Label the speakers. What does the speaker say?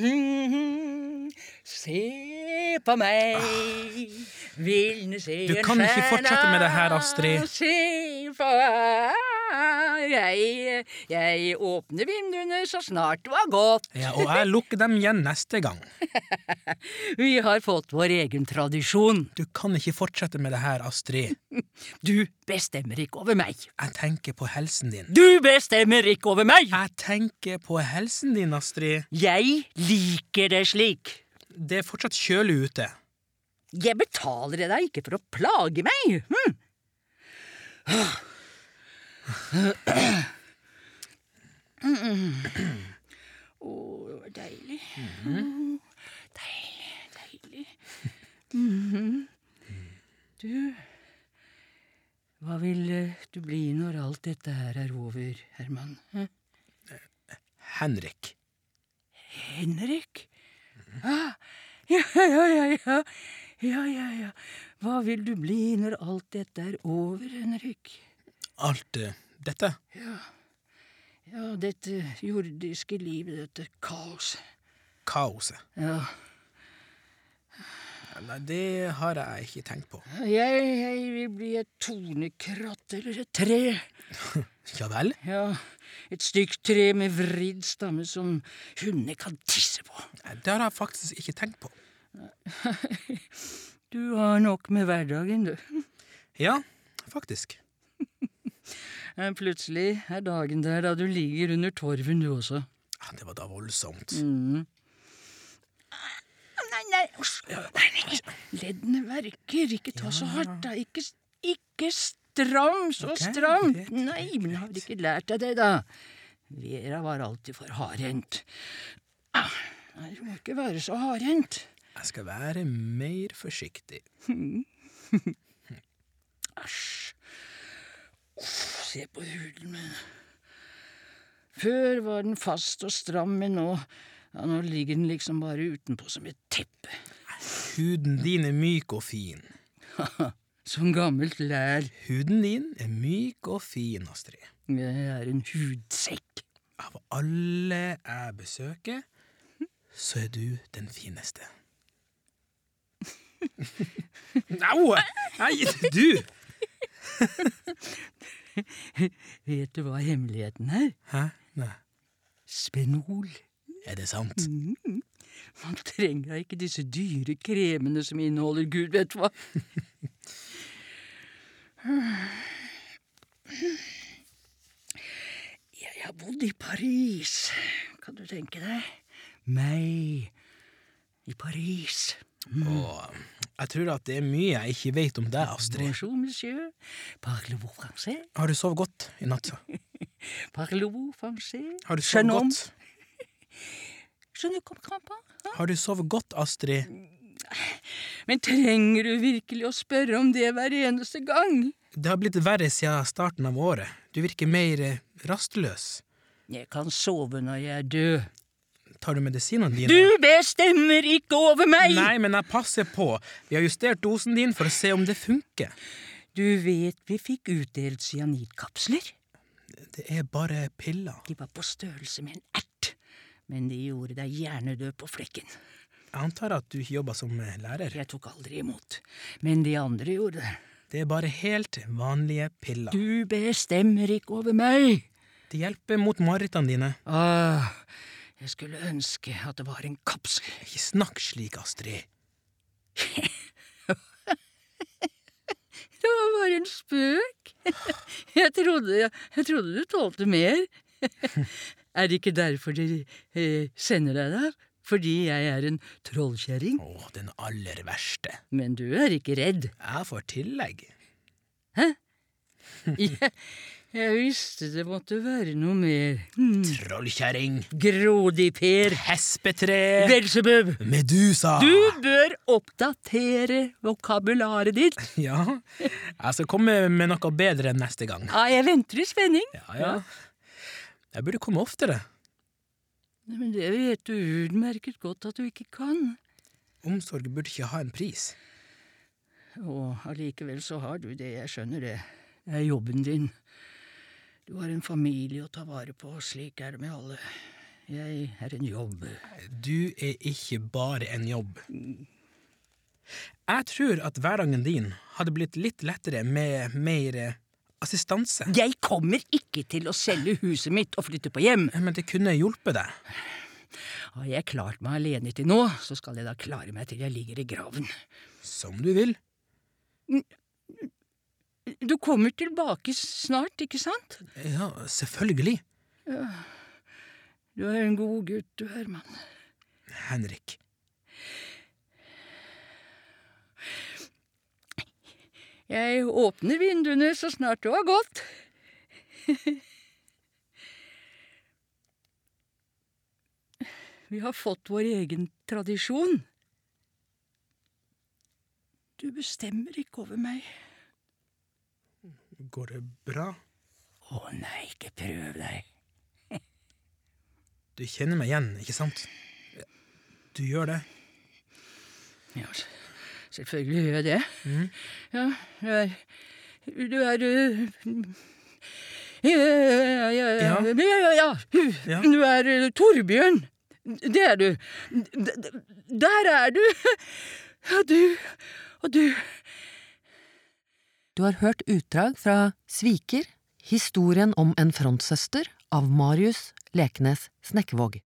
Speaker 1: Mhm. Se på meg, vilne ser
Speaker 2: Du kan ikke fortsette med det her, Astrid.
Speaker 1: Se på jeg, jeg åpner vinduene så snart du har gått.
Speaker 2: Ja, og jeg lukker dem igjen neste gang.
Speaker 1: Vi har fått vår egen tradisjon.
Speaker 2: Du kan ikke fortsette med det her, Astrid.
Speaker 1: Du bestemmer ikke over meg.
Speaker 2: Jeg tenker på helsen din.
Speaker 1: Du bestemmer ikke over meg!
Speaker 2: Jeg tenker på helsen din, Astrid.
Speaker 1: Jeg liker det slik.
Speaker 2: Det er fortsatt kjølig ute.
Speaker 1: Jeg betaler deg ikke for å plage meg. Hm. Å, det var deilig. Deilig, deilig. Mhm. Du Hva vil eh, du bli når alt dette her er over, Herman? Hm?
Speaker 2: Henrik.
Speaker 1: Henrik? Ah, ja, ja, ja, ja. Ja, ja, ja. Hva vil du bli når alt dette er over, Henrik?
Speaker 2: Alt eh, dette.
Speaker 1: Ja, dette jordiske livet, dette kaos.
Speaker 2: Kaoset.
Speaker 1: Ja.
Speaker 2: Nei, det har jeg ikke tenkt på.
Speaker 1: Jeg, jeg vil bli et tornekratt eller et tre.
Speaker 2: Ja vel?
Speaker 1: Ja, et stygt tre med vridd stamme som hundene kan tisse på.
Speaker 2: Nei, Det har jeg faktisk ikke tenkt på.
Speaker 1: Du har nok med hverdagen, du.
Speaker 2: Ja, faktisk.
Speaker 1: Men Eh, Plutselig er dagen der da du ligger under torven, du også.
Speaker 2: Ja, Ah, Det var da voldsomt.
Speaker 1: Nei, nei, hysj. nei, nei. Leddene verker. Ikke ta så hardt, da. Ikke, s- ikke stram så
Speaker 2: Ok,
Speaker 1: stramt.
Speaker 2: greit,
Speaker 1: Nei,
Speaker 2: greit,
Speaker 1: men har du ikke lært deg det, da? Vera var alltid for hardhendt. Ah, Nei, du må ikke være så hardhendt.
Speaker 2: Jeg skal være mer forsiktig.
Speaker 1: Æsj. Uff, se på huden min. Før var den fast og stram, men nå ja, Nå ligger den liksom bare utenpå som et teppe.
Speaker 2: Huden din er myk og fin.
Speaker 1: Som gammelt lær.
Speaker 2: Huden din er myk og fin, Astrid.
Speaker 1: Jeg er en hudsekk.
Speaker 2: Av alle jeg besøker, så er du den fineste. Au! Nei, du!
Speaker 1: Vet du hva hemmeligheten er?
Speaker 2: Hæ? Nei.
Speaker 1: Spenol.
Speaker 2: Er det sant?
Speaker 1: Man trenger da ikke disse dyre kremene som inneholder gud vet hva. Jeg har bodd i Paris, kan du tenke deg? Meg i Paris.
Speaker 2: Og jeg tror at det er mye jeg ikke vet om deg, Astrid.
Speaker 1: Bonjour, monsieur. Parlez-vous français?
Speaker 2: Har du sovet godt i natt?
Speaker 1: Parlez-vous français?
Speaker 2: Har du
Speaker 1: Je
Speaker 2: sovet
Speaker 1: n'om-
Speaker 2: godt?
Speaker 1: Je ne comprends pas.
Speaker 2: Har du sovet godt, Astrid?
Speaker 1: Men trenger du virkelig å spørre om det hver eneste gang?
Speaker 2: Det har blitt verre siden starten av året. Du virker mer eh, rastløs.
Speaker 1: Jeg kan sove når jeg er død.
Speaker 2: Tar du medisinene dine?
Speaker 1: Du bestemmer ikke over meg!
Speaker 2: Nei, men jeg passer på. Vi har justert dosen din for å se om det funker.
Speaker 1: Du vet vi fikk utdelt cyanidkapsler.
Speaker 2: Det er bare piller.
Speaker 1: De var på størrelse med en ert. Men de gjorde deg hjernedød på flekken.
Speaker 2: Jeg antar at du ikke jobber som eh, lærer.
Speaker 1: Jeg tok aldri imot. Men de andre gjorde det.
Speaker 2: Det er bare helt vanlige piller.
Speaker 1: Du bestemmer ikke over meg!
Speaker 2: Det hjelper mot marerittene dine.
Speaker 1: Åh, jeg skulle ønske at det var en kapsel.
Speaker 2: Ikke snakk slik, Astrid.
Speaker 1: Det var bare en spøk. Jeg trodde, jeg trodde du tålte mer. Er det ikke derfor de eh, sender deg der? Fordi jeg er en trollkjerring?
Speaker 2: Å, den aller verste.
Speaker 1: Men du er ikke redd.
Speaker 2: Jeg får tillegg.
Speaker 1: Jeg, jeg visste det måtte være noe mer. Hmm.
Speaker 2: Trollkjerring.
Speaker 1: Grodiper.
Speaker 2: Hespetre.
Speaker 1: Belzebub.
Speaker 2: Medusa.
Speaker 1: Du bør oppdatere vokabularet ditt.
Speaker 2: Ja, jeg skal komme med noe bedre neste gang.
Speaker 1: Ja, jeg venter i spenning.
Speaker 2: Ja, ja. Jeg burde komme oftere.
Speaker 1: Men det vet du utmerket godt at du ikke kan.
Speaker 2: Omsorg burde ikke ha en pris.
Speaker 1: Og allikevel så har du det, jeg skjønner det. Det er jobben din. Du har en familie å ta vare på, og slik er det med alle. Jeg er en jobber.
Speaker 2: Du er ikke bare en jobb. Jeg tror at hverdagen din hadde blitt litt lettere med mer eh, assistanse.
Speaker 1: Jeg kommer ikke til å selge huset mitt og flytte på hjem.
Speaker 2: Men det kunne hjulpet deg.
Speaker 1: Har jeg klart meg alene til nå, så skal jeg da klare meg til jeg ligger i graven.
Speaker 2: Som du vil.
Speaker 1: Du kommer tilbake snart, ikke sant?
Speaker 2: Ja, selvfølgelig.
Speaker 1: Du er en god gutt, du, Herman.
Speaker 2: Henrik.
Speaker 1: Jeg åpner vinduene så snart du har gått. Vi har fått vår egen tradisjon. Du bestemmer ikke over meg.
Speaker 2: Går det bra?
Speaker 1: Å nei, ikke prøv deg.
Speaker 2: Du kjenner meg igjen, ikke sant? Du gjør det.
Speaker 1: Ja, s- selvfølgelig gjør jeg det.
Speaker 2: Mhm.
Speaker 1: Ja, du er Du er øh, ja, ja, ja, ja,
Speaker 2: Ja.
Speaker 1: ja, ja.
Speaker 2: Ja.
Speaker 1: Du er øh, Torbjørn. Det er du. D- d- Der er du. Ja, du og du.
Speaker 3: Du har hørt utdrag fra Sviker, historien om en frontsøster av Marius Leknes Snekkevåg.